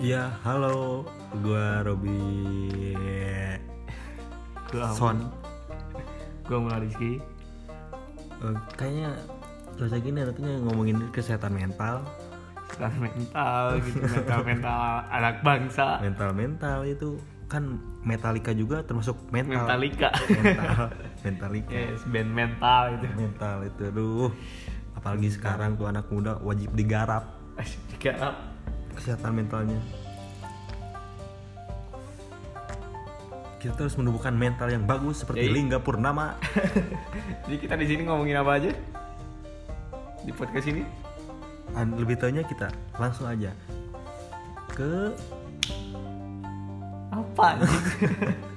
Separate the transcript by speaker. Speaker 1: Iya, halo. Gua Robi
Speaker 2: Gua Amun.
Speaker 1: Son.
Speaker 2: Gua mulai Rizky.
Speaker 1: Eh, kayaknya terus lagi nih artinya ngomongin kesehatan mental,
Speaker 2: Secara mental gitu, mental-mental anak bangsa.
Speaker 1: mental mental itu kan Metallica juga termasuk mental.
Speaker 2: Mentalika.
Speaker 1: Mental, Metallica.
Speaker 2: Yes, band mental itu.
Speaker 1: Mental itu, aduh. Apalagi sekarang tuh anak muda wajib digarap
Speaker 2: Asyik digarap.
Speaker 1: kesehatan mentalnya. Kita terus menumbuhkan mental yang bagus seperti
Speaker 2: Jadi-
Speaker 1: Lingga Purnama.
Speaker 2: Jadi kita di sini ngomongin apa aja? Di podcast ini?
Speaker 1: An- lebih taunya kita langsung aja ke
Speaker 2: Apa? anjing?